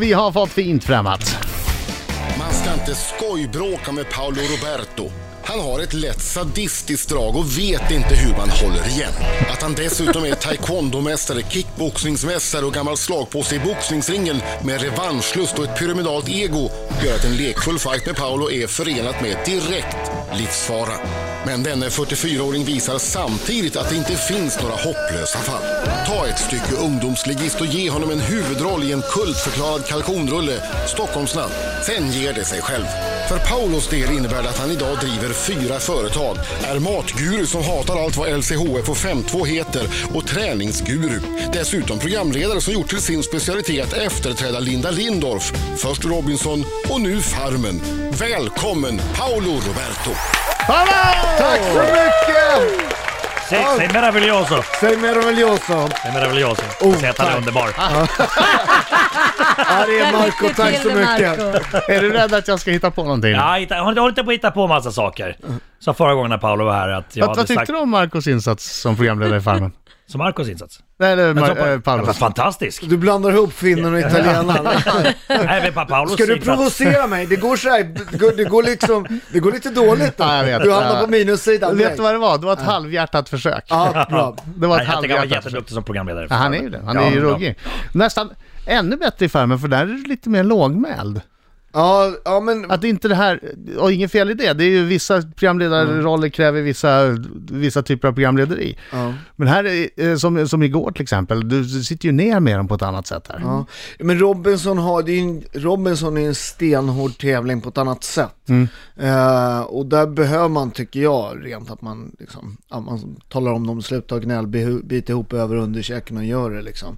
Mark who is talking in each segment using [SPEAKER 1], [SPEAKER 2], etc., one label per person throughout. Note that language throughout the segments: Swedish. [SPEAKER 1] Vi har fått fint främmat.
[SPEAKER 2] Man ska inte skojbråka med Paolo Roberto. Han har ett lätt sadistiskt drag och vet inte hur man håller igen. Att han dessutom är taekwondomästare, kickboxningsmästare och gammal slagpåse i boxningsringen med revanschlust och ett pyramidalt ego gör att en lekfull fight med Paolo är förenat med direkt livsfara. Men denne 44-åring visar samtidigt att det inte finns några hopplösa fall. Ta ett stycke ungdomsligist och ge honom en huvudroll i en kultförklarad kalkonrulle, Stockholmsnatt. Sen ger det sig själv. För Paulos del innebär det att han idag driver fyra företag, är matguru som hatar allt vad LCHF och 52 heter och träningsguru. Dessutom programledare som gjort till sin specialitet att efterträda Linda Lindorff, först Robinson och nu Farmen. Välkommen Paolo Roberto!
[SPEAKER 1] Hallå!
[SPEAKER 3] Tack så mycket!
[SPEAKER 4] Sei, sei meraviglioso!
[SPEAKER 3] Sei meraviglioso!
[SPEAKER 4] Sei meraviglioso. Oh, Säg att han är
[SPEAKER 3] tack.
[SPEAKER 4] underbar.
[SPEAKER 1] Ah.
[SPEAKER 3] Ja, det är
[SPEAKER 5] Där
[SPEAKER 3] Marco,
[SPEAKER 5] fick du
[SPEAKER 3] tack så
[SPEAKER 5] till det,
[SPEAKER 3] mycket!
[SPEAKER 5] Marco.
[SPEAKER 1] Är du rädd att jag ska hitta på någonting?
[SPEAKER 4] Ja, hitta, håll, håll inte på att hitta på massa saker. Sa förra gången när Paolo var här att jag
[SPEAKER 1] vad, vad
[SPEAKER 4] hade
[SPEAKER 1] tyckte
[SPEAKER 4] sagt...
[SPEAKER 1] du om Marcos insats som programledare i Farmen?
[SPEAKER 4] Som Marcos insats.
[SPEAKER 1] Nej, eller
[SPEAKER 4] Jag
[SPEAKER 1] Mar-
[SPEAKER 4] tror på-
[SPEAKER 1] eh,
[SPEAKER 4] Ja, men
[SPEAKER 1] Paulos.
[SPEAKER 4] Fantastisk!
[SPEAKER 3] Du blandar ihop finnen och italienaren.
[SPEAKER 4] Nej, men pa- Paolos
[SPEAKER 3] Ska du
[SPEAKER 4] insats-
[SPEAKER 3] provocera mig? Det går så här, det går- det går liksom, det går lite dåligt.
[SPEAKER 1] Ja, jag vet.
[SPEAKER 3] Du hamnar på
[SPEAKER 1] Och
[SPEAKER 3] minussidan.
[SPEAKER 1] Vet du
[SPEAKER 3] direkt.
[SPEAKER 1] vad det var? Det var ett halvhjärtat försök.
[SPEAKER 3] Ja, bra.
[SPEAKER 1] Det var
[SPEAKER 4] Nej,
[SPEAKER 1] ett
[SPEAKER 4] jag tycker han var
[SPEAKER 1] halvhjärtat försök.
[SPEAKER 4] jätteduktig som programledare.
[SPEAKER 1] Ja, han är ju det. Han är ju
[SPEAKER 4] Ja, ja.
[SPEAKER 1] ruggig. Nästan ännu bättre i Farmen, för där är du lite mer lågmäld.
[SPEAKER 3] Ja, ja men
[SPEAKER 1] Att det inte det här, och ingen fel i det, det är ju vissa programledarroller kräver vissa, vissa typer av programlederi.
[SPEAKER 3] Mm. Ja.
[SPEAKER 1] Men här, är, eh, som, som igår till exempel, du du sitter ju ner med dem på ett annat sätt här.
[SPEAKER 3] Ja. Men Robinson, har, det är ju en, Robinson är ju en stenhård tävling på ett annat sätt. Eh, och där behöver man, tycker jag, rent att man, liksom, att man talar om dem, slutar gnäll, bi- bit ihop över underkäken och gör det. Liksom.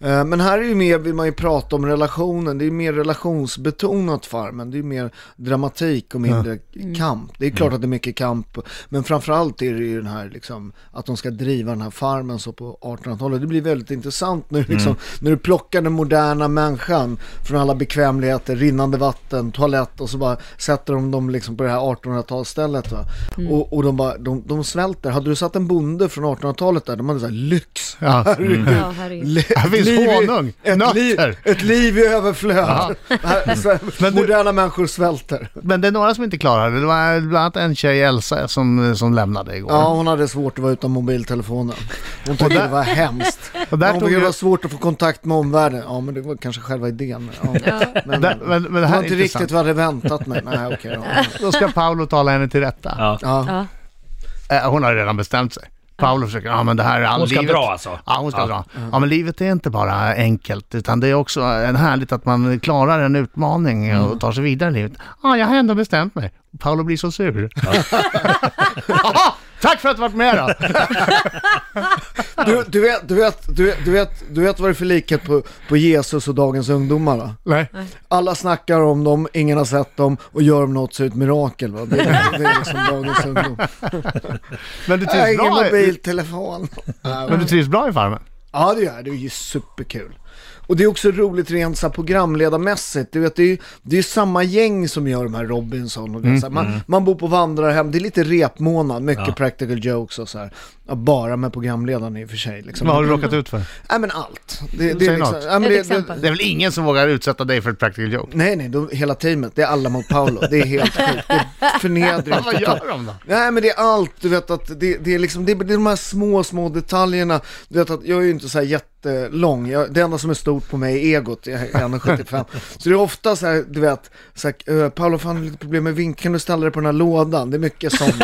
[SPEAKER 3] Eh, men här är ju mer, vill man ju prata om relationen, det är ju mer relationsbetonat Farmen, det är ju mer dramatik och mindre kamp. Det är klart att det är mycket kamp, men framförallt är det ju den här liksom, att de ska driva den här farmen så på 1800-talet. Det blir väldigt intressant när, du liksom, när du plockar den moderna människan från alla bekvämligheter, rinnande vatten, toalett och så bara sätter de dem liksom på det här 1800-talsstället. Va? Och, och de, bara, de, de svälter. Hade du satt en bonde från 1800-talet där, de hade så här lyx.
[SPEAKER 1] Ja.
[SPEAKER 3] Herregud.
[SPEAKER 5] Ja, herregud.
[SPEAKER 3] Le-
[SPEAKER 1] Här finns
[SPEAKER 3] liv i-
[SPEAKER 1] honung,
[SPEAKER 3] ett liv,
[SPEAKER 1] nötter.
[SPEAKER 3] ett liv i överflöd. Här- så-
[SPEAKER 1] Men du-
[SPEAKER 3] Moderna människor svälter.
[SPEAKER 1] Men det är några som inte klarar det. Det var bland annat en tjej, Elsa, som, som lämnade igår.
[SPEAKER 3] Ja, hon hade svårt att vara utan mobiltelefonen. Hon tyckte det var hemskt.
[SPEAKER 1] Och där
[SPEAKER 3] Hon
[SPEAKER 1] tog
[SPEAKER 3] tyckte det
[SPEAKER 1] ju-
[SPEAKER 3] var svårt att få kontakt med omvärlden. Ja, men det var kanske själva idén. Ja. Men,
[SPEAKER 1] Där- men, men det
[SPEAKER 3] det
[SPEAKER 1] här
[SPEAKER 3] var
[SPEAKER 1] är
[SPEAKER 3] inte
[SPEAKER 1] intressant.
[SPEAKER 3] riktigt vad jag hade väntat mig. Nej, okej. ja.
[SPEAKER 1] Då ska Paolo tala henne till rätta.
[SPEAKER 4] Ja.
[SPEAKER 3] ja.
[SPEAKER 5] Ja.
[SPEAKER 1] Eh, Hon har ju redan bestämt sig. Paolo försöker, ja men det här är all
[SPEAKER 4] Hon ska
[SPEAKER 1] livet.
[SPEAKER 4] dra alltså?
[SPEAKER 1] Ja, hon ska dra. Ja, men livet är inte bara enkelt, utan det är också en härligt att man klarar en utmaning
[SPEAKER 4] Mm.
[SPEAKER 1] och tar sig vidare i livet. Ja, jag har ändå bestämt mig. Paolo blir så sur. Jaha, tack för att du varit med då!
[SPEAKER 3] Du, du, vet, du, vet, du, vet, du, vet, du vet vad det är för likhet på, på Jesus och dagens ungdomar? Va?
[SPEAKER 1] Nej.
[SPEAKER 3] Alla snackar om dem, ingen har sett dem och gör de något så är det ett mirakel. Va? Det, är- det är liksom dagens ungdom.
[SPEAKER 1] Men du
[SPEAKER 3] Jag har
[SPEAKER 1] trivs
[SPEAKER 3] ingen
[SPEAKER 1] bra i,
[SPEAKER 3] mobiltelefon.
[SPEAKER 1] men du trivs bra i Farmen?
[SPEAKER 3] Ja det gör jag, det är ju superkul. Och det är också roligt rent så här programledarmässigt. Du vet, det är ju det är ju samma gäng som gör de här Robinson och det, så här.
[SPEAKER 1] Mm,
[SPEAKER 3] Man, man bor på vandrarhem, det är lite repmånad, mycket practical jokes och så här. Ja, bara med programledaren i och för sig. Liksom.
[SPEAKER 1] Vad har du råkat ut för?
[SPEAKER 3] Nej men allt. Det, det
[SPEAKER 1] Säg
[SPEAKER 3] är liksom,
[SPEAKER 1] något.
[SPEAKER 3] ja, men
[SPEAKER 5] Ett
[SPEAKER 3] det, det,
[SPEAKER 5] exempel.
[SPEAKER 1] Det är väl ingen som vågar utsätta dig för ett practical joke?
[SPEAKER 3] nej nej, de, hela teamet, det är alla mot Paolo. Det är helt sjukt, det är förnedring.
[SPEAKER 1] Vad gör de då?
[SPEAKER 3] Nej men det är allt, du vet att det, det är liksom, det, är- det är de här små, små detaljerna. Du vet att jag är ju inte så här jättelång, jag, det enda som är stort på mig är egot, jag är 1,75. Så det är ofta så här, du vet, så här, eh, Paolo fan har lite problem med vinkeln, kan du ställa dig på den här lådan? Det är mycket sånt.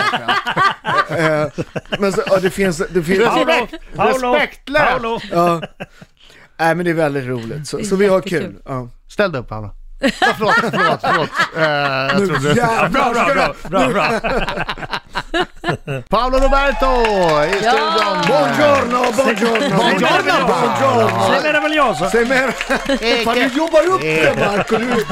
[SPEAKER 3] Eh, men så, ja, det finns, det finns,
[SPEAKER 4] Paolo! Paolo!
[SPEAKER 1] Respektlöst!
[SPEAKER 4] Paolo!
[SPEAKER 3] ja. Nej men det är väldigt roligt, så, så vi har kul.
[SPEAKER 5] Jättekul.
[SPEAKER 3] Ja.
[SPEAKER 1] Ställ dig upp Paolo. Ja, förlåt, förlåt, förlåt. Eh, jag trodde...
[SPEAKER 4] Ja, bra, bra, bra, bra, bra.
[SPEAKER 1] Paolo Roberto i studion.
[SPEAKER 3] Buongiorno, buongiorno,
[SPEAKER 1] Buongiorno,
[SPEAKER 3] buongiorno.
[SPEAKER 4] Sei meraviglioso!
[SPEAKER 3] Säg mer! Fan du jobbar upp det Marco! Du...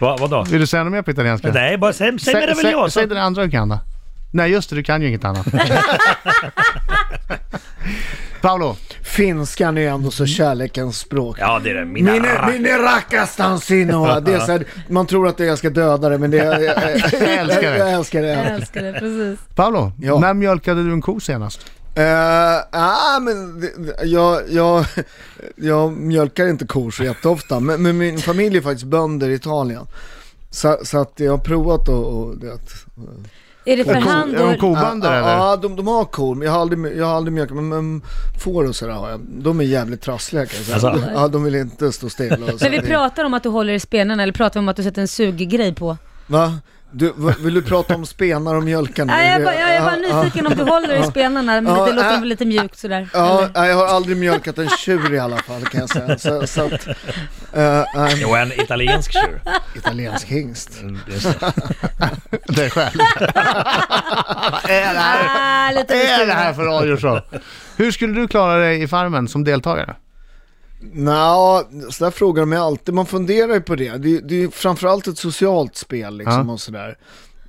[SPEAKER 4] Va, vadå?
[SPEAKER 1] Vill du säga något mer på italienska?
[SPEAKER 4] Nej, bara säg, säg
[SPEAKER 1] Sä- sä-
[SPEAKER 4] meraviglioso!
[SPEAKER 1] Säg det andra du kan då. Nej just det, du kan ju inget annat. Paolo,
[SPEAKER 3] Finskan är ju ändå så kärlekens språk.
[SPEAKER 4] Ja, det är det. Mina...
[SPEAKER 3] Mine, mine rackas dansino. Det är så här, man tror att det är jag ska döda det, men det är... Jag,
[SPEAKER 1] älskar det.
[SPEAKER 3] Jag älskar det.
[SPEAKER 5] Jag älskar det, precis.
[SPEAKER 1] Paolo
[SPEAKER 3] Ja.
[SPEAKER 1] när mjölkade du en ko senast?
[SPEAKER 3] Eh, ah, men det- det- jag, jag, jag mjölkar inte kor så jätteofta, men, men min familj är faktiskt bönder i Italien. Så, så att jag har provat och, och det, att-
[SPEAKER 5] Är det för hand
[SPEAKER 1] Är de
[SPEAKER 5] då?
[SPEAKER 1] kobönder
[SPEAKER 3] ja,
[SPEAKER 1] eller?
[SPEAKER 3] Ja, ah, de, de har kor, men jag har aldrig, jag har aldrig mjölkat, men, men får och sådär har jag. De är jävligt trassliga kan jag säga.
[SPEAKER 4] Alltså.
[SPEAKER 3] Ja, de vill inte stå still. och så.
[SPEAKER 5] Men vi pratar om att du håller i spenarna eller pratar vi om att du sätter en suggrej på?
[SPEAKER 3] Va? Du, va- vill du prata om spenar och mjölkar nu?
[SPEAKER 5] Nej, jag,
[SPEAKER 3] Det-
[SPEAKER 5] är bara- jag är bara
[SPEAKER 3] ja,
[SPEAKER 5] nyfiken om du håller i spenarna, men
[SPEAKER 3] Ja,
[SPEAKER 5] det låter
[SPEAKER 3] äh.
[SPEAKER 5] väl lite mjukt sådär.
[SPEAKER 3] Ja,
[SPEAKER 5] Eller?
[SPEAKER 3] ja, jag har aldrig mjölkat en tjur i alla fall kan jag säga. Så, så att, eh, nej,
[SPEAKER 4] Jo, en italiensk tjur. Mm,
[SPEAKER 3] italiensk hingst.
[SPEAKER 4] Just det.
[SPEAKER 1] Det är själv. Vad är det här?
[SPEAKER 5] Ah, lite
[SPEAKER 1] Vad är det
[SPEAKER 5] besviken.
[SPEAKER 1] här för radioshow? Hur skulle du klara dig i Farmen som deltagare?
[SPEAKER 3] Nja, sådär frågar de mig alltid. Man funderar ju på det. Det, är- det är ju framförallt ett socialt spel liksom
[SPEAKER 1] Ja.
[SPEAKER 3] och sådär.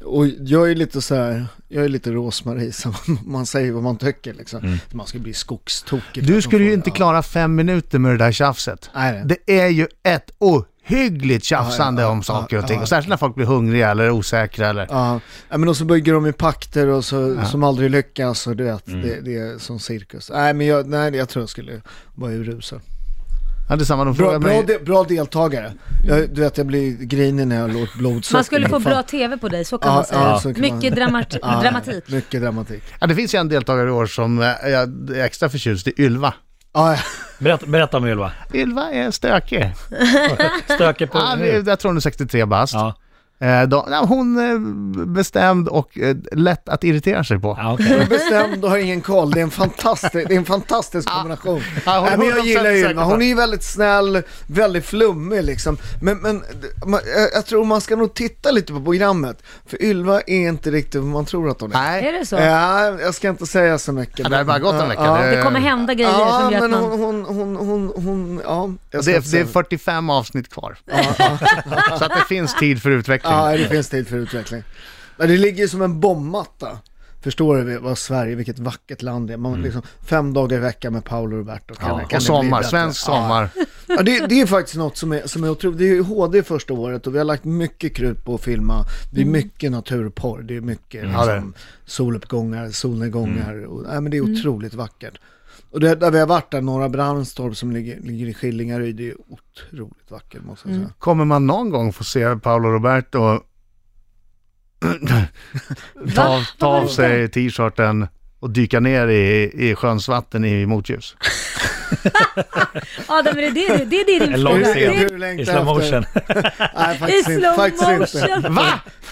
[SPEAKER 3] Och jag är lite så här, jag är lite Rosmarie, så man säger vad man tycker liksom. Man ska bli skogstokig.
[SPEAKER 1] Mm. Du skulle ju
[SPEAKER 3] Ja.
[SPEAKER 1] inte klara fem minuter med det där tjafset.
[SPEAKER 3] Nej, nej.
[SPEAKER 1] Det är ju ett ohyggligt tjafsande om saker och ting. Och särskilt när folk blir hungriga eller osäkra eller...
[SPEAKER 3] Ja, ja, men och så bygger de i pakter och så, som aldrig lyckas och du vet, det, det är som cirkus. Nej, men jag, nej, jag tror jag skulle vara urusel.
[SPEAKER 1] Ja, det är samma. De
[SPEAKER 3] Bra,
[SPEAKER 1] frågar
[SPEAKER 3] bra,
[SPEAKER 1] mig...
[SPEAKER 3] de, bra deltagare. Jag, du vet, jag blir grinig när jag låter blodsocker.
[SPEAKER 5] Man skulle få
[SPEAKER 3] Fan.
[SPEAKER 5] bra TV på dig, så kan
[SPEAKER 3] Ja,
[SPEAKER 5] man säga.
[SPEAKER 3] ja, så kan man-
[SPEAKER 5] Mycket dramat-
[SPEAKER 3] Ja,
[SPEAKER 5] dramatik.
[SPEAKER 3] Mycket dramatik.
[SPEAKER 1] Ja, det finns ju en deltagare i år som eh, jag är extra förtjust i, Ylva.
[SPEAKER 3] Ja,
[SPEAKER 4] Berätta, berätta om Ylva.
[SPEAKER 1] Ylva är stökig.
[SPEAKER 4] Stöker på...
[SPEAKER 1] Ja, det är- jag tror hon är 63 bast.
[SPEAKER 4] Ja,
[SPEAKER 1] Eh, då, nej, hon är bestämd och eh, lätt att irritera sig på.
[SPEAKER 4] ja okej.
[SPEAKER 3] jag är bestämd och har ingen koll. Det är en fantastisk, det är en fantastisk
[SPEAKER 5] Ah.
[SPEAKER 3] kombination.
[SPEAKER 1] Ja, hon-
[SPEAKER 3] Nej, men jag
[SPEAKER 1] 100%
[SPEAKER 3] gillar
[SPEAKER 1] säker
[SPEAKER 3] Ylva.
[SPEAKER 1] på.
[SPEAKER 3] Hon är ju väldigt snäll, väldigt flummig liksom. Men, men d- man- jag- jag tror man ska nog titta lite på programmet. För Ylva är inte riktigt vad man tror att hon är.
[SPEAKER 5] Är
[SPEAKER 1] Nej,
[SPEAKER 5] det så?
[SPEAKER 3] Ja, jag ska inte säga så mycket.
[SPEAKER 1] det har bara gått en vecka.
[SPEAKER 3] Ja,
[SPEAKER 5] Det kommer hända grejer
[SPEAKER 3] ja
[SPEAKER 5] som gör att
[SPEAKER 3] men
[SPEAKER 5] man...
[SPEAKER 3] hon, hon, hon, hon, hon, ja. jag ska
[SPEAKER 1] Det
[SPEAKER 3] inte
[SPEAKER 1] är, det
[SPEAKER 3] säga
[SPEAKER 1] är 45 avsnitt kvar. Så att det finns tid för utveckling.
[SPEAKER 3] Ja, det finns tid för utveckling. Men det ligger ju som en bombmatta. Förstår du vad Sverige, vilket vackert land det är. Man, liksom, fem dagar i veckan med Paolo Roberto. Kan, kan det
[SPEAKER 1] och
[SPEAKER 3] bli
[SPEAKER 1] sommar,
[SPEAKER 3] bättre?
[SPEAKER 1] svensk sommar.
[SPEAKER 3] Ja. Ja, det, det är faktiskt något som är, som är otroligt. Det är ju HD första året och vi har lagt mycket krut på att filma. Det är mycket naturporr, det är mycket
[SPEAKER 1] Mm. Ja, det är Mm.
[SPEAKER 3] liksom, soluppgångar, solnedgångar. Och, nej, men det är otroligt vackert. Och det, där vi har varit där, Norra Brandstorp som ligger, ligger i Skillingaryd, det är otroligt vackert måste jag säga.
[SPEAKER 1] Kommer man någon gång få se Paolo Roberto ta, av- ta
[SPEAKER 5] Vad var
[SPEAKER 1] av
[SPEAKER 5] det
[SPEAKER 1] sig t-shirten och dyka ner i, i sjöns vatten i motljus?
[SPEAKER 5] Adam, är det det, du- det, är det din
[SPEAKER 4] En lång
[SPEAKER 5] fråga?
[SPEAKER 4] scen.
[SPEAKER 5] Det är-
[SPEAKER 3] du längtar
[SPEAKER 4] I slow
[SPEAKER 3] efter?
[SPEAKER 4] motion.
[SPEAKER 3] Nej,
[SPEAKER 5] I
[SPEAKER 3] faktiskt inte.
[SPEAKER 5] slow
[SPEAKER 3] Faktiskt inte.
[SPEAKER 5] motion.
[SPEAKER 1] Va?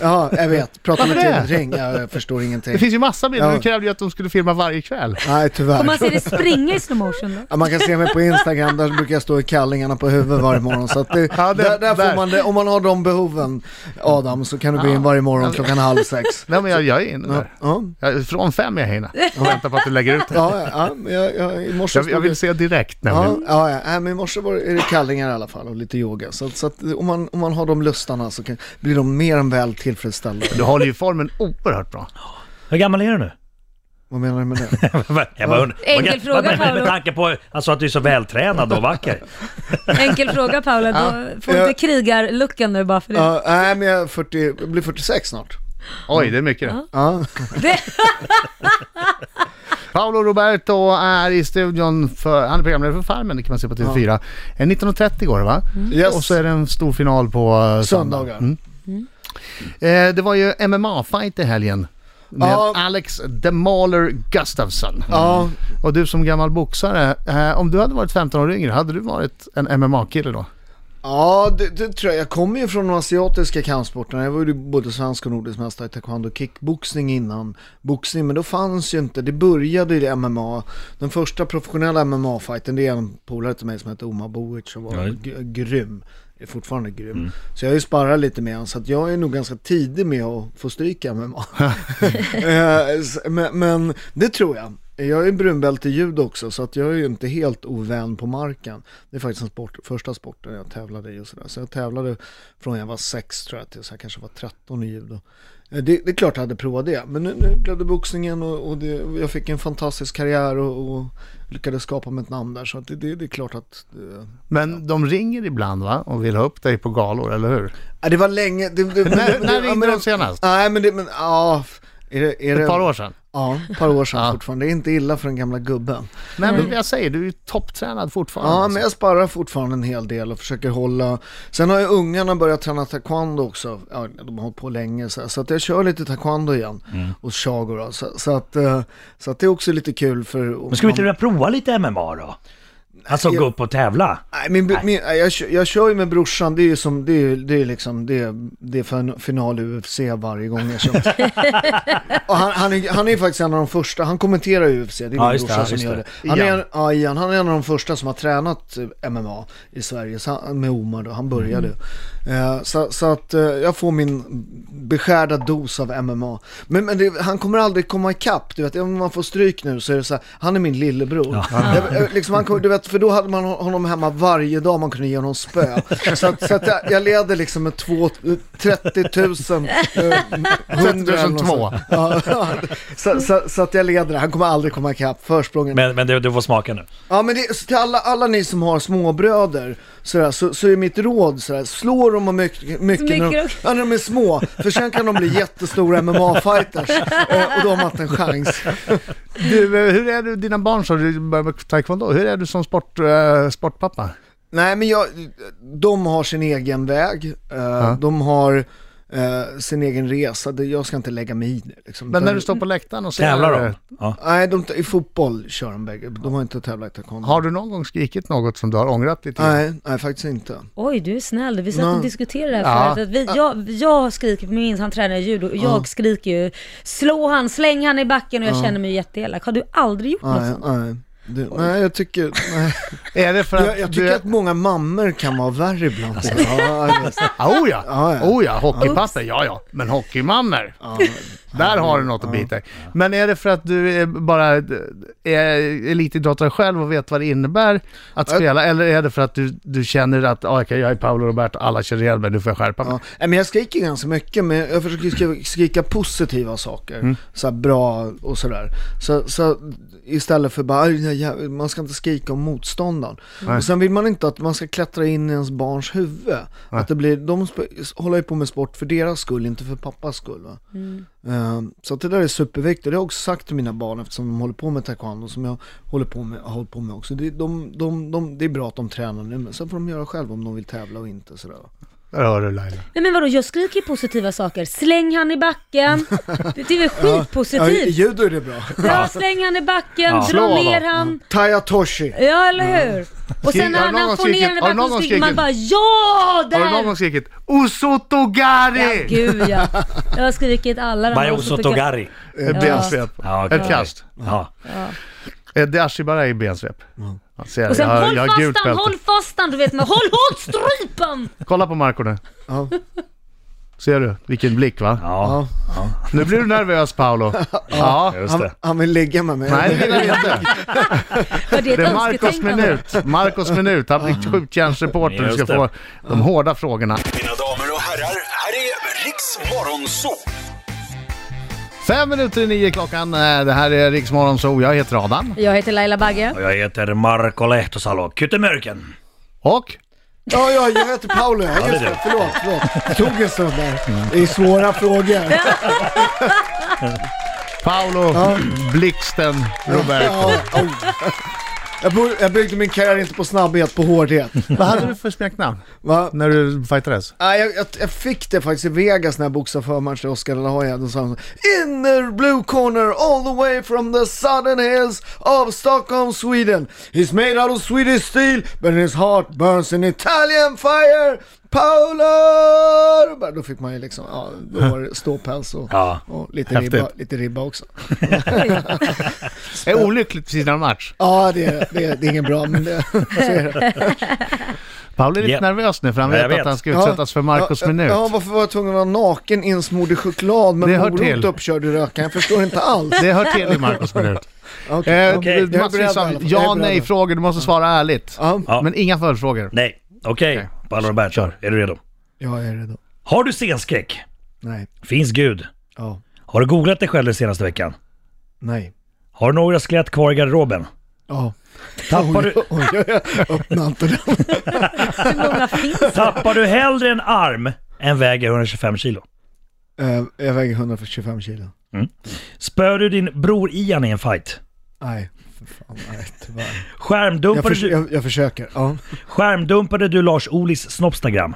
[SPEAKER 3] Ja, jag vet. Prata med
[SPEAKER 1] Varför det?
[SPEAKER 3] tidring, jag förstår ingenting.
[SPEAKER 1] Det finns ju massa bilder.
[SPEAKER 3] Ja.
[SPEAKER 1] Du krävde ju att de skulle filma varje kväll.
[SPEAKER 3] Nej, tyvärr. Man,
[SPEAKER 5] Om man ser det springa i slow motion då?
[SPEAKER 3] ja, man kan se mig på Instagram, där brukar jag stå i kallingarna på huvudet varje morgon. Så att det,
[SPEAKER 1] Ja, det-
[SPEAKER 3] där, där
[SPEAKER 1] där.
[SPEAKER 3] får man det. Om man har de behoven, Adam, så kan du gå in varje morgon klockan halv sex.
[SPEAKER 1] Nej men jag, jag är inne
[SPEAKER 3] Ja,
[SPEAKER 1] där.
[SPEAKER 3] ja,
[SPEAKER 1] Jag, från fem är jag inne. Och väntar på att du lägger ut det.
[SPEAKER 3] ja, ja men jag, jag, i morse
[SPEAKER 1] Jag, jag
[SPEAKER 3] stod
[SPEAKER 1] vill
[SPEAKER 3] det-
[SPEAKER 1] se direkt
[SPEAKER 3] Ja,
[SPEAKER 1] nämligen.
[SPEAKER 3] ja, ja. Nej, men i morse var det, är det kallingar i alla fall och lite yoga. Så, att- så att om man, om man har de lustarna så kan, blir de mer än väl tillfredsställda.
[SPEAKER 1] Du håller ju formen oerhört bra.
[SPEAKER 4] Hur gammal är du nu?
[SPEAKER 3] Vad menar du med det?
[SPEAKER 4] Jag bara undrar.
[SPEAKER 5] Enkel
[SPEAKER 4] Vad-
[SPEAKER 5] fråga,
[SPEAKER 4] men- men-
[SPEAKER 5] Paolo.
[SPEAKER 4] Med tanke på alltså, att du är så vältränad och vacker.
[SPEAKER 5] Enkel fråga Paula, då får du
[SPEAKER 3] Ja.
[SPEAKER 5] inte krigarluckan nu bara för det.
[SPEAKER 3] Ja, nej, men jag, är 40, jag blir 46 snart.
[SPEAKER 1] Oj, det är mycket det.
[SPEAKER 3] Ja.
[SPEAKER 5] det.
[SPEAKER 1] Paolo Roberto är i studion för, han är programledare för Farmen, det kan man se på TV4. Eh, 19.30 går det va?
[SPEAKER 3] Mm. Yes.
[SPEAKER 1] Och så är det en stor final på eh, söndag.
[SPEAKER 3] Söndagar.
[SPEAKER 1] Mm. Eh, det var ju MMA-fight i helgen. Med
[SPEAKER 3] Ja.
[SPEAKER 1] Alex The Mauler Gustafsson. Mm.
[SPEAKER 3] Ja,
[SPEAKER 1] Och du som gammal boxare, eh, om du hade varit 15 år yngre, hade du varit en MMA-kille då?
[SPEAKER 3] ja det, det tror jag. Jag kommer ju från de asiatiska kampsporterna. Jag var ju både svensk och nordisk mästare i taekwondo och kickboxning innan boxning. Men då fanns ju inte, det började i MMA. Den första professionella MMA-fighten, det är en polare till mig som heter Omar Boic som var
[SPEAKER 4] Ja.
[SPEAKER 3] g- grym. Är fortfarande grym. Så jag har ju sparrat lite med honom, så att jag är nog ganska tidig med att få stryka MMA. Eh, s- men, men det tror jag. Jag är brunbälte i judo också, så att jag är ju inte helt ovän på marken. Det är faktiskt den sport, första sporten jag tävlade i och sådär. Så jag tävlade från jag var sex tror jag, tills jag kanske var 13 i judo. Eh, Det, det är klart jag hade provat det, men nu, nu blev det boxningen och, och det, jag fick en fantastisk karriär och, och lyckades skapa mig ett namn där. Så att det, det, det är klart att... eh,
[SPEAKER 1] Men de ringer ibland va? Och vill ha upp dig på galor, eller hur?
[SPEAKER 3] Ja, det var länge. Det, det,
[SPEAKER 1] När- när
[SPEAKER 3] ja,
[SPEAKER 1] ringde de senast?
[SPEAKER 3] Nej, men det, men ja. Är det, är
[SPEAKER 1] Ett
[SPEAKER 3] det,
[SPEAKER 1] par år sedan.
[SPEAKER 3] Ja, ett par år sedan
[SPEAKER 1] Ja.
[SPEAKER 3] fortfarande. Det är inte illa för den gamla gubben.
[SPEAKER 1] Nej, men jag säger, du är ju topptränad fortfarande.
[SPEAKER 3] Mm. Ja,
[SPEAKER 1] alltså.
[SPEAKER 3] men jag sparar fortfarande en hel del och försöker hålla. Sen har ju ungarna börjat träna taekwondo också. Ja, de har hållit på länge så, här. så att jag kör lite taekwondo igen
[SPEAKER 4] Mm.
[SPEAKER 3] hos Shago då. Så, så, att, eh, så att det är också lite kul för...
[SPEAKER 4] Men skulle vi inte vilja prova lite MMA då? Alltså gå upp och tävla?
[SPEAKER 3] Nej, min, min, nej, jag, kör- jag kör ju med brorsan, det är ju som, det är, ju- det är liksom, det är, det är fin- final i UFC varje gång jag kör. och han, han, är, han är ju faktiskt en av de första, han kommenterar UFC, det är min
[SPEAKER 4] Ja, just det,
[SPEAKER 3] brorsa
[SPEAKER 4] ja,
[SPEAKER 3] som
[SPEAKER 4] just
[SPEAKER 3] gör
[SPEAKER 4] det.
[SPEAKER 3] det. Han, är,
[SPEAKER 4] Ian.
[SPEAKER 3] en- ja, Ian, han är en av de första som har tränat eh, MMA i Sverige, så han, med Omar då, han började. Eh, så, så att eh, jag får min beskärda dos av MMA. Men, men det, han kommer aldrig komma ikapp, du vet, om man får stryk nu så är det så här, han är min lillebror. Jag- jag- liksom, han kom, du vet, för då hade man honom hemma varje dag man kunde ge honom spö. Så, att, så att jag, jag leder liksom med två, 30 000, eh, 100 eller något
[SPEAKER 1] två.
[SPEAKER 3] sånt. Ja, så, så, så att jag leder, han kommer aldrig komma ikapp, försprången
[SPEAKER 4] Men, men du, du får smaka nu.
[SPEAKER 3] Ja men det, så till alla, alla ni som har småbröder sådär, så, så är mitt råd sådär, slå dem och mycket, mycket när, de,
[SPEAKER 5] Mycket.
[SPEAKER 3] ja, när de är små, för sen kan de bli jättestora MMA-fighters eh, och då har man inte en chans.
[SPEAKER 1] Du, eh, hur är du, dina barn som du börjar med taekwondo, hur är du som sport, eh, sportpappa?
[SPEAKER 3] Nej men jag, de har sin egen väg, eh, de har eh, sin egen resa, det, jag ska inte lägga mig i det. Liksom.
[SPEAKER 1] Men när
[SPEAKER 3] Utan-
[SPEAKER 1] du står på läktaren och ser...
[SPEAKER 4] Tävlar de? Ja.
[SPEAKER 3] Nej, de, i fotboll kör de bägge, de har inte tävlat i taekwondo.
[SPEAKER 1] Har du någon gång skrikit något som du har ångrat dig till?
[SPEAKER 3] Nej, nej faktiskt inte.
[SPEAKER 5] Oj, du är snäll. Vi satt
[SPEAKER 3] Ja.
[SPEAKER 5] och diskuterade det
[SPEAKER 1] Ja.
[SPEAKER 5] här förut. Att vi, jag, jag skriker på min minst, han tränar i judo. och Jag skriker ju, slå han, släng han i backen och jag känner mig jätteelak. Har du aldrig gjort något
[SPEAKER 3] Nej,
[SPEAKER 1] Alltså.
[SPEAKER 5] sånt?
[SPEAKER 3] nej. Det, nej, jag tycker... Nej.
[SPEAKER 1] Är det för att
[SPEAKER 3] Jag, jag
[SPEAKER 1] du...
[SPEAKER 3] tycker att många mammor kan vara värre ibland. Ja, visst.
[SPEAKER 1] Ah, oh ja,
[SPEAKER 3] Ja, ja.
[SPEAKER 1] Oh, ja. hockeypapper, ja ja. Men hockeymammor, där har du något att bita i. Men är det för att du är bara är elitidrottare själv och vet vad det innebär att spela? Eller är det för att du, du känner att ah, okej, jag är Paolo Roberto, alla kör ihjäl mig, nu får jag skärpa mig?
[SPEAKER 3] ja. Nej, men jag skriker ganska mycket, men jag försöker skrika, skrika positiva saker. Så här bra och sådär. Så, så istället för bara, "Aj, aj, aj", man ska inte skrika om motståndaren. Och sen vill man inte att man ska klättra in i ens barns huvud. Att det blir, de sp- håller ju på med sport för deras skull, inte för pappas skull. Va? Eh, Så att det där är superviktigt. Det har jag också sagt till mina barn eftersom de håller på med taekwondo som jag håller på med, har hållit på med också. Det, de, de, de, det är bra att de tränar nu men sen får de göra själva om de vill tävla och inte sådär.
[SPEAKER 1] Där hör du Laila.
[SPEAKER 5] Nej men vadå, jag skriker ju positiva saker. Släng han i backen. Det det är väl
[SPEAKER 3] Ja, i
[SPEAKER 5] skitpositivt?
[SPEAKER 3] judo är det bra.
[SPEAKER 5] Ja, släng han i backen,
[SPEAKER 4] Ja.
[SPEAKER 5] dra
[SPEAKER 1] Slå
[SPEAKER 5] ner
[SPEAKER 1] honom. Mm.
[SPEAKER 5] han.
[SPEAKER 3] Taya Toshi.
[SPEAKER 5] Ja, eller hur? Och sen när
[SPEAKER 1] Har du någon
[SPEAKER 5] han, han får
[SPEAKER 1] skrikit-
[SPEAKER 5] ner den i
[SPEAKER 1] har du
[SPEAKER 5] backen
[SPEAKER 1] någon
[SPEAKER 5] så skriker man
[SPEAKER 1] skrikit-
[SPEAKER 5] bara ja,
[SPEAKER 1] Har du någon
[SPEAKER 5] där!
[SPEAKER 1] gång skrikit Usotogari?
[SPEAKER 5] Ja, gud ja. Jag har skrikit alla de här
[SPEAKER 4] Bayoso
[SPEAKER 5] som tycker-
[SPEAKER 4] Togari.
[SPEAKER 1] Eh, Bensvep.
[SPEAKER 4] Ja, okej.
[SPEAKER 1] Ett kast.
[SPEAKER 4] Ja.
[SPEAKER 1] Eh, Det är Ashibara i bensvep. Ja, ser jag.
[SPEAKER 5] Och sen
[SPEAKER 1] Jag har-
[SPEAKER 5] håll
[SPEAKER 1] jag har
[SPEAKER 5] fast
[SPEAKER 1] gult
[SPEAKER 5] han,
[SPEAKER 1] bälte.
[SPEAKER 5] håll fast han, du vet men håll hårt strypen!
[SPEAKER 1] Kolla på Marco nu.
[SPEAKER 3] Ja.
[SPEAKER 1] Ser du? Vilken blick va?
[SPEAKER 4] Ja,
[SPEAKER 1] Nu blir du nervös Paolo. Ja.
[SPEAKER 4] just
[SPEAKER 3] Han,
[SPEAKER 4] det.
[SPEAKER 3] han vill ligga med mig.
[SPEAKER 1] Nej, det vill jag inte.
[SPEAKER 5] Var det ett
[SPEAKER 1] Det är Marcos
[SPEAKER 5] önsketänkande?
[SPEAKER 1] minut. Marcos minut. Han blir skjutjärnsreporter. Du ska
[SPEAKER 4] Just det.
[SPEAKER 1] få de hårda frågorna.
[SPEAKER 6] Mina damer och herrar, här är Riks Morgonzoo!
[SPEAKER 1] Fem minuter i nio klockan. Eh, Det här är Riksmorgon Zoo. Jag heter Adam.
[SPEAKER 5] Jag heter Laila Bagge.
[SPEAKER 4] Och jag heter Marko Lehtosalo, Kyttemörken.
[SPEAKER 1] Och?
[SPEAKER 3] Ja, ja, jag heter Paolo. Ja, just
[SPEAKER 4] det är Mm.
[SPEAKER 3] det. Förlåt, förlåt. Det tog en stund där. Det är svåra frågor.
[SPEAKER 1] Paolo Blixten Roberto.
[SPEAKER 3] Ja, oj. Jag, bo, jag byggde min karriär inte på snabbhet, på hårdhet.
[SPEAKER 1] Vad hade du för smeknamn
[SPEAKER 3] Va?
[SPEAKER 1] när du fightades?
[SPEAKER 3] Nej, jag, jag, jag fick det faktiskt i Vegas när jag boxade förmatch till Oscar de la Hoya. Då sa han så, In the blue corner all the way from the southern hills of Stockholm, Sweden. He's made out of Swedish steel but his heart burns in Italian fire. Paolo! Robert." Då fick man ju liksom, ja, då var det ståpäls och,
[SPEAKER 4] Ja.
[SPEAKER 3] och lite,
[SPEAKER 1] Häftigt.
[SPEAKER 3] ribba, lite ribba också.
[SPEAKER 1] Är olyckligt precis innan match.
[SPEAKER 3] Ja, det är, det är, det är ingen bra, men det, så är det.
[SPEAKER 1] Paolo är lite
[SPEAKER 4] Ja.
[SPEAKER 1] nervös nu för han
[SPEAKER 4] Ja,
[SPEAKER 1] vet,
[SPEAKER 4] jag vet.
[SPEAKER 1] att han ska utsättas för Marcos
[SPEAKER 3] ja,
[SPEAKER 1] minut.
[SPEAKER 3] Ja, varför var jag tvungen att vara naken insmord i choklad
[SPEAKER 1] Det hör
[SPEAKER 3] med
[SPEAKER 1] till.
[SPEAKER 3] morot uppkörd i rökan? Jag förstår inte alls.
[SPEAKER 1] Det hör till i Marcos minut.
[SPEAKER 3] Okej.
[SPEAKER 1] Eh,
[SPEAKER 4] Okej.
[SPEAKER 1] det-
[SPEAKER 3] Jag är beredd
[SPEAKER 1] Massvis
[SPEAKER 3] i alla
[SPEAKER 1] av
[SPEAKER 3] fall. Jag
[SPEAKER 1] ja
[SPEAKER 3] är beredd.
[SPEAKER 1] nej-frågor. Du måste svara ärligt.
[SPEAKER 3] Ja,
[SPEAKER 4] Ja.
[SPEAKER 1] Men inga följdfrågor.
[SPEAKER 4] Nej, okej. Okay. Paolo Roberto,
[SPEAKER 1] Kör.
[SPEAKER 4] är du redo?
[SPEAKER 3] jag är redo.
[SPEAKER 4] Har du scenskräck?
[SPEAKER 3] Nej.
[SPEAKER 4] Finns Gud?
[SPEAKER 3] Ja.
[SPEAKER 4] Har du googlat dig själv den senaste veckan?
[SPEAKER 3] Nej.
[SPEAKER 4] Har du några skelett kvar i garderoben?
[SPEAKER 3] Ja.
[SPEAKER 4] Tappar du,
[SPEAKER 3] Oj, oj, oj, öppna inte den.
[SPEAKER 5] Hur många finns?
[SPEAKER 4] tappar du hellre en arm än väger 125 kilo?
[SPEAKER 3] Eh, Jag väger 125 kilo.
[SPEAKER 4] Spör du din bror Ian i en fight?
[SPEAKER 3] Nej, för fan, nej tyvärr. Jag,
[SPEAKER 4] Skärmdumpade,
[SPEAKER 3] förs-
[SPEAKER 4] du,
[SPEAKER 3] jag, jag försöker. Ja.
[SPEAKER 4] skärmdumpade du Lars Olis snoppstagram?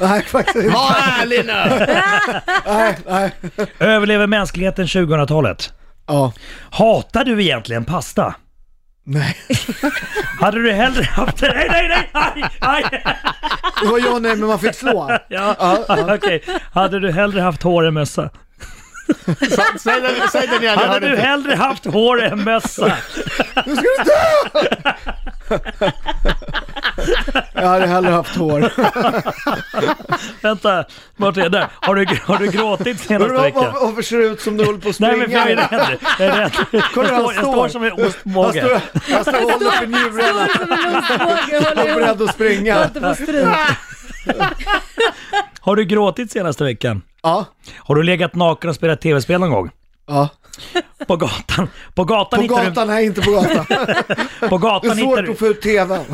[SPEAKER 3] Nej, faktiskt inte.
[SPEAKER 1] Var ärlig nu!
[SPEAKER 3] Nej, nej.
[SPEAKER 4] Överlever mänskligheten 2000-talet?
[SPEAKER 3] Ja,
[SPEAKER 4] Hatar du egentligen pasta?
[SPEAKER 3] nej.
[SPEAKER 4] Hade du hellre haft... Nej, nej, nej! Aj, aj.
[SPEAKER 3] Det var jag nej, men man fick slå.
[SPEAKER 4] Ja,
[SPEAKER 3] Ja, ja.
[SPEAKER 4] okej. Hade du hellre haft hår än mössa?
[SPEAKER 1] Sa- Säg den, säg den igen, jag
[SPEAKER 4] Hade
[SPEAKER 1] hörde
[SPEAKER 4] du
[SPEAKER 1] inte.
[SPEAKER 4] hellre haft hår än mössa?
[SPEAKER 3] Nu ska du dö! Jag hade hellre haft hår.
[SPEAKER 4] Vänta, vart är där? Har du, har du gråtit senaste
[SPEAKER 3] Varför,
[SPEAKER 4] veckan?
[SPEAKER 3] varför, varför ser du ut som du håller på att
[SPEAKER 4] Nej
[SPEAKER 3] springa?
[SPEAKER 4] men för jag är rädd. Jag är rädd. Jag
[SPEAKER 3] Kolla hur han
[SPEAKER 4] står, jag
[SPEAKER 3] står.
[SPEAKER 4] står som en
[SPEAKER 3] Han står,
[SPEAKER 4] ostbåge.
[SPEAKER 3] han står och håller för njurarna.
[SPEAKER 5] Stor som en ostbåge och
[SPEAKER 3] Han är
[SPEAKER 5] håller ihop.
[SPEAKER 3] beredd att
[SPEAKER 5] Jag
[SPEAKER 3] springa.
[SPEAKER 5] inte få stryk.
[SPEAKER 4] Har du gråtit senaste veckan?
[SPEAKER 3] Ja,
[SPEAKER 4] Har du legat naken och spelat tv-spel någon gång?
[SPEAKER 3] ja.
[SPEAKER 4] På gatan. På gatan
[SPEAKER 3] På
[SPEAKER 4] hittar
[SPEAKER 3] gatan, nej inte på gatan.
[SPEAKER 4] du... På
[SPEAKER 3] Det
[SPEAKER 4] gatan,
[SPEAKER 3] är
[SPEAKER 4] hittar
[SPEAKER 3] svårt
[SPEAKER 4] du,
[SPEAKER 3] att få ut tvn.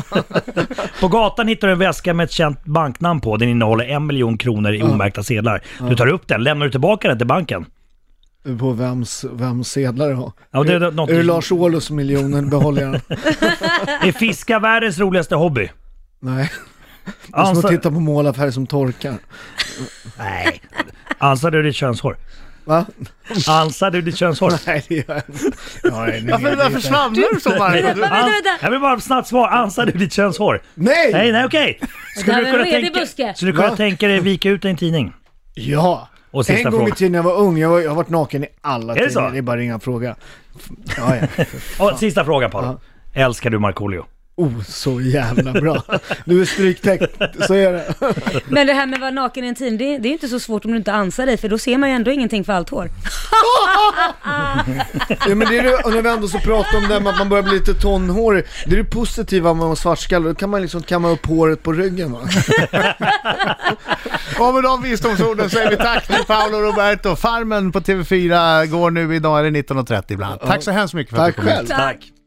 [SPEAKER 4] på gatan hittar du en väska med ett känt banknamn på. Den innehåller en miljon kronor i omärkta sedlar. Du tar upp den, lämnar du tillbaka den till banken.
[SPEAKER 3] På vems, vems sedlar du har.
[SPEAKER 4] Ja, det är något-
[SPEAKER 3] är det Lars Ohlus miljonen behåller jag den?
[SPEAKER 4] Är fiska världens roligaste hobby?
[SPEAKER 3] Nej. Det är som
[SPEAKER 4] Ansar,
[SPEAKER 3] att titta på målarfärg som torkar.
[SPEAKER 4] nej. Ansar du ditt könshår?
[SPEAKER 3] Va?
[SPEAKER 4] Ansar du ditt könshår?
[SPEAKER 3] Nej, det gör jag inte. Jag har en
[SPEAKER 1] Varför,
[SPEAKER 3] egen
[SPEAKER 1] varför
[SPEAKER 3] liten-
[SPEAKER 1] svamlar du så Marko? Du-
[SPEAKER 5] Vänta, vänta.
[SPEAKER 4] Jag vill bara snabbt svara. Ansar du ditt könshår?
[SPEAKER 3] Nej!
[SPEAKER 4] Nej, nej okej. Skulle
[SPEAKER 5] där
[SPEAKER 4] du
[SPEAKER 5] är
[SPEAKER 4] kunna
[SPEAKER 5] en redig
[SPEAKER 4] tänka,
[SPEAKER 5] buske.
[SPEAKER 4] skulle du kunna
[SPEAKER 3] Va?
[SPEAKER 4] tänka dig vika ut en tidning?
[SPEAKER 3] Ja!
[SPEAKER 4] Och sista
[SPEAKER 3] En gång
[SPEAKER 4] frågan.
[SPEAKER 3] i tiden när jag var ung, jag, var, jag har varit naken i alla
[SPEAKER 4] det så?
[SPEAKER 3] tidningar. Det är bara att ringa och fråga. Ja, ja.
[SPEAKER 4] Och, sista frågan Paolo. Älskar du Markoolio?
[SPEAKER 3] Oh, så jävla bra. Du är stryktäckt, så är det.
[SPEAKER 5] Men det här med att vara naken i en team, det, det är inte så svårt om du inte ansar dig för då ser man ju ändå ingenting för allt hår.
[SPEAKER 3] Ja, men det är det, och när vi ändå så pratar om det här med att man börjar bli lite tonhårig. Det är det positiva med att vara svartskalle, då kan man liksom kamma upp håret på ryggen va.
[SPEAKER 1] Och med de visdomsorden säger vi tack till Paolo Roberto. Farmen på TV4 går nu idag, är det 19.30 ibland. Tack så hemskt mycket för att
[SPEAKER 3] Tack
[SPEAKER 1] du kom hit.
[SPEAKER 3] själv.
[SPEAKER 4] Tack.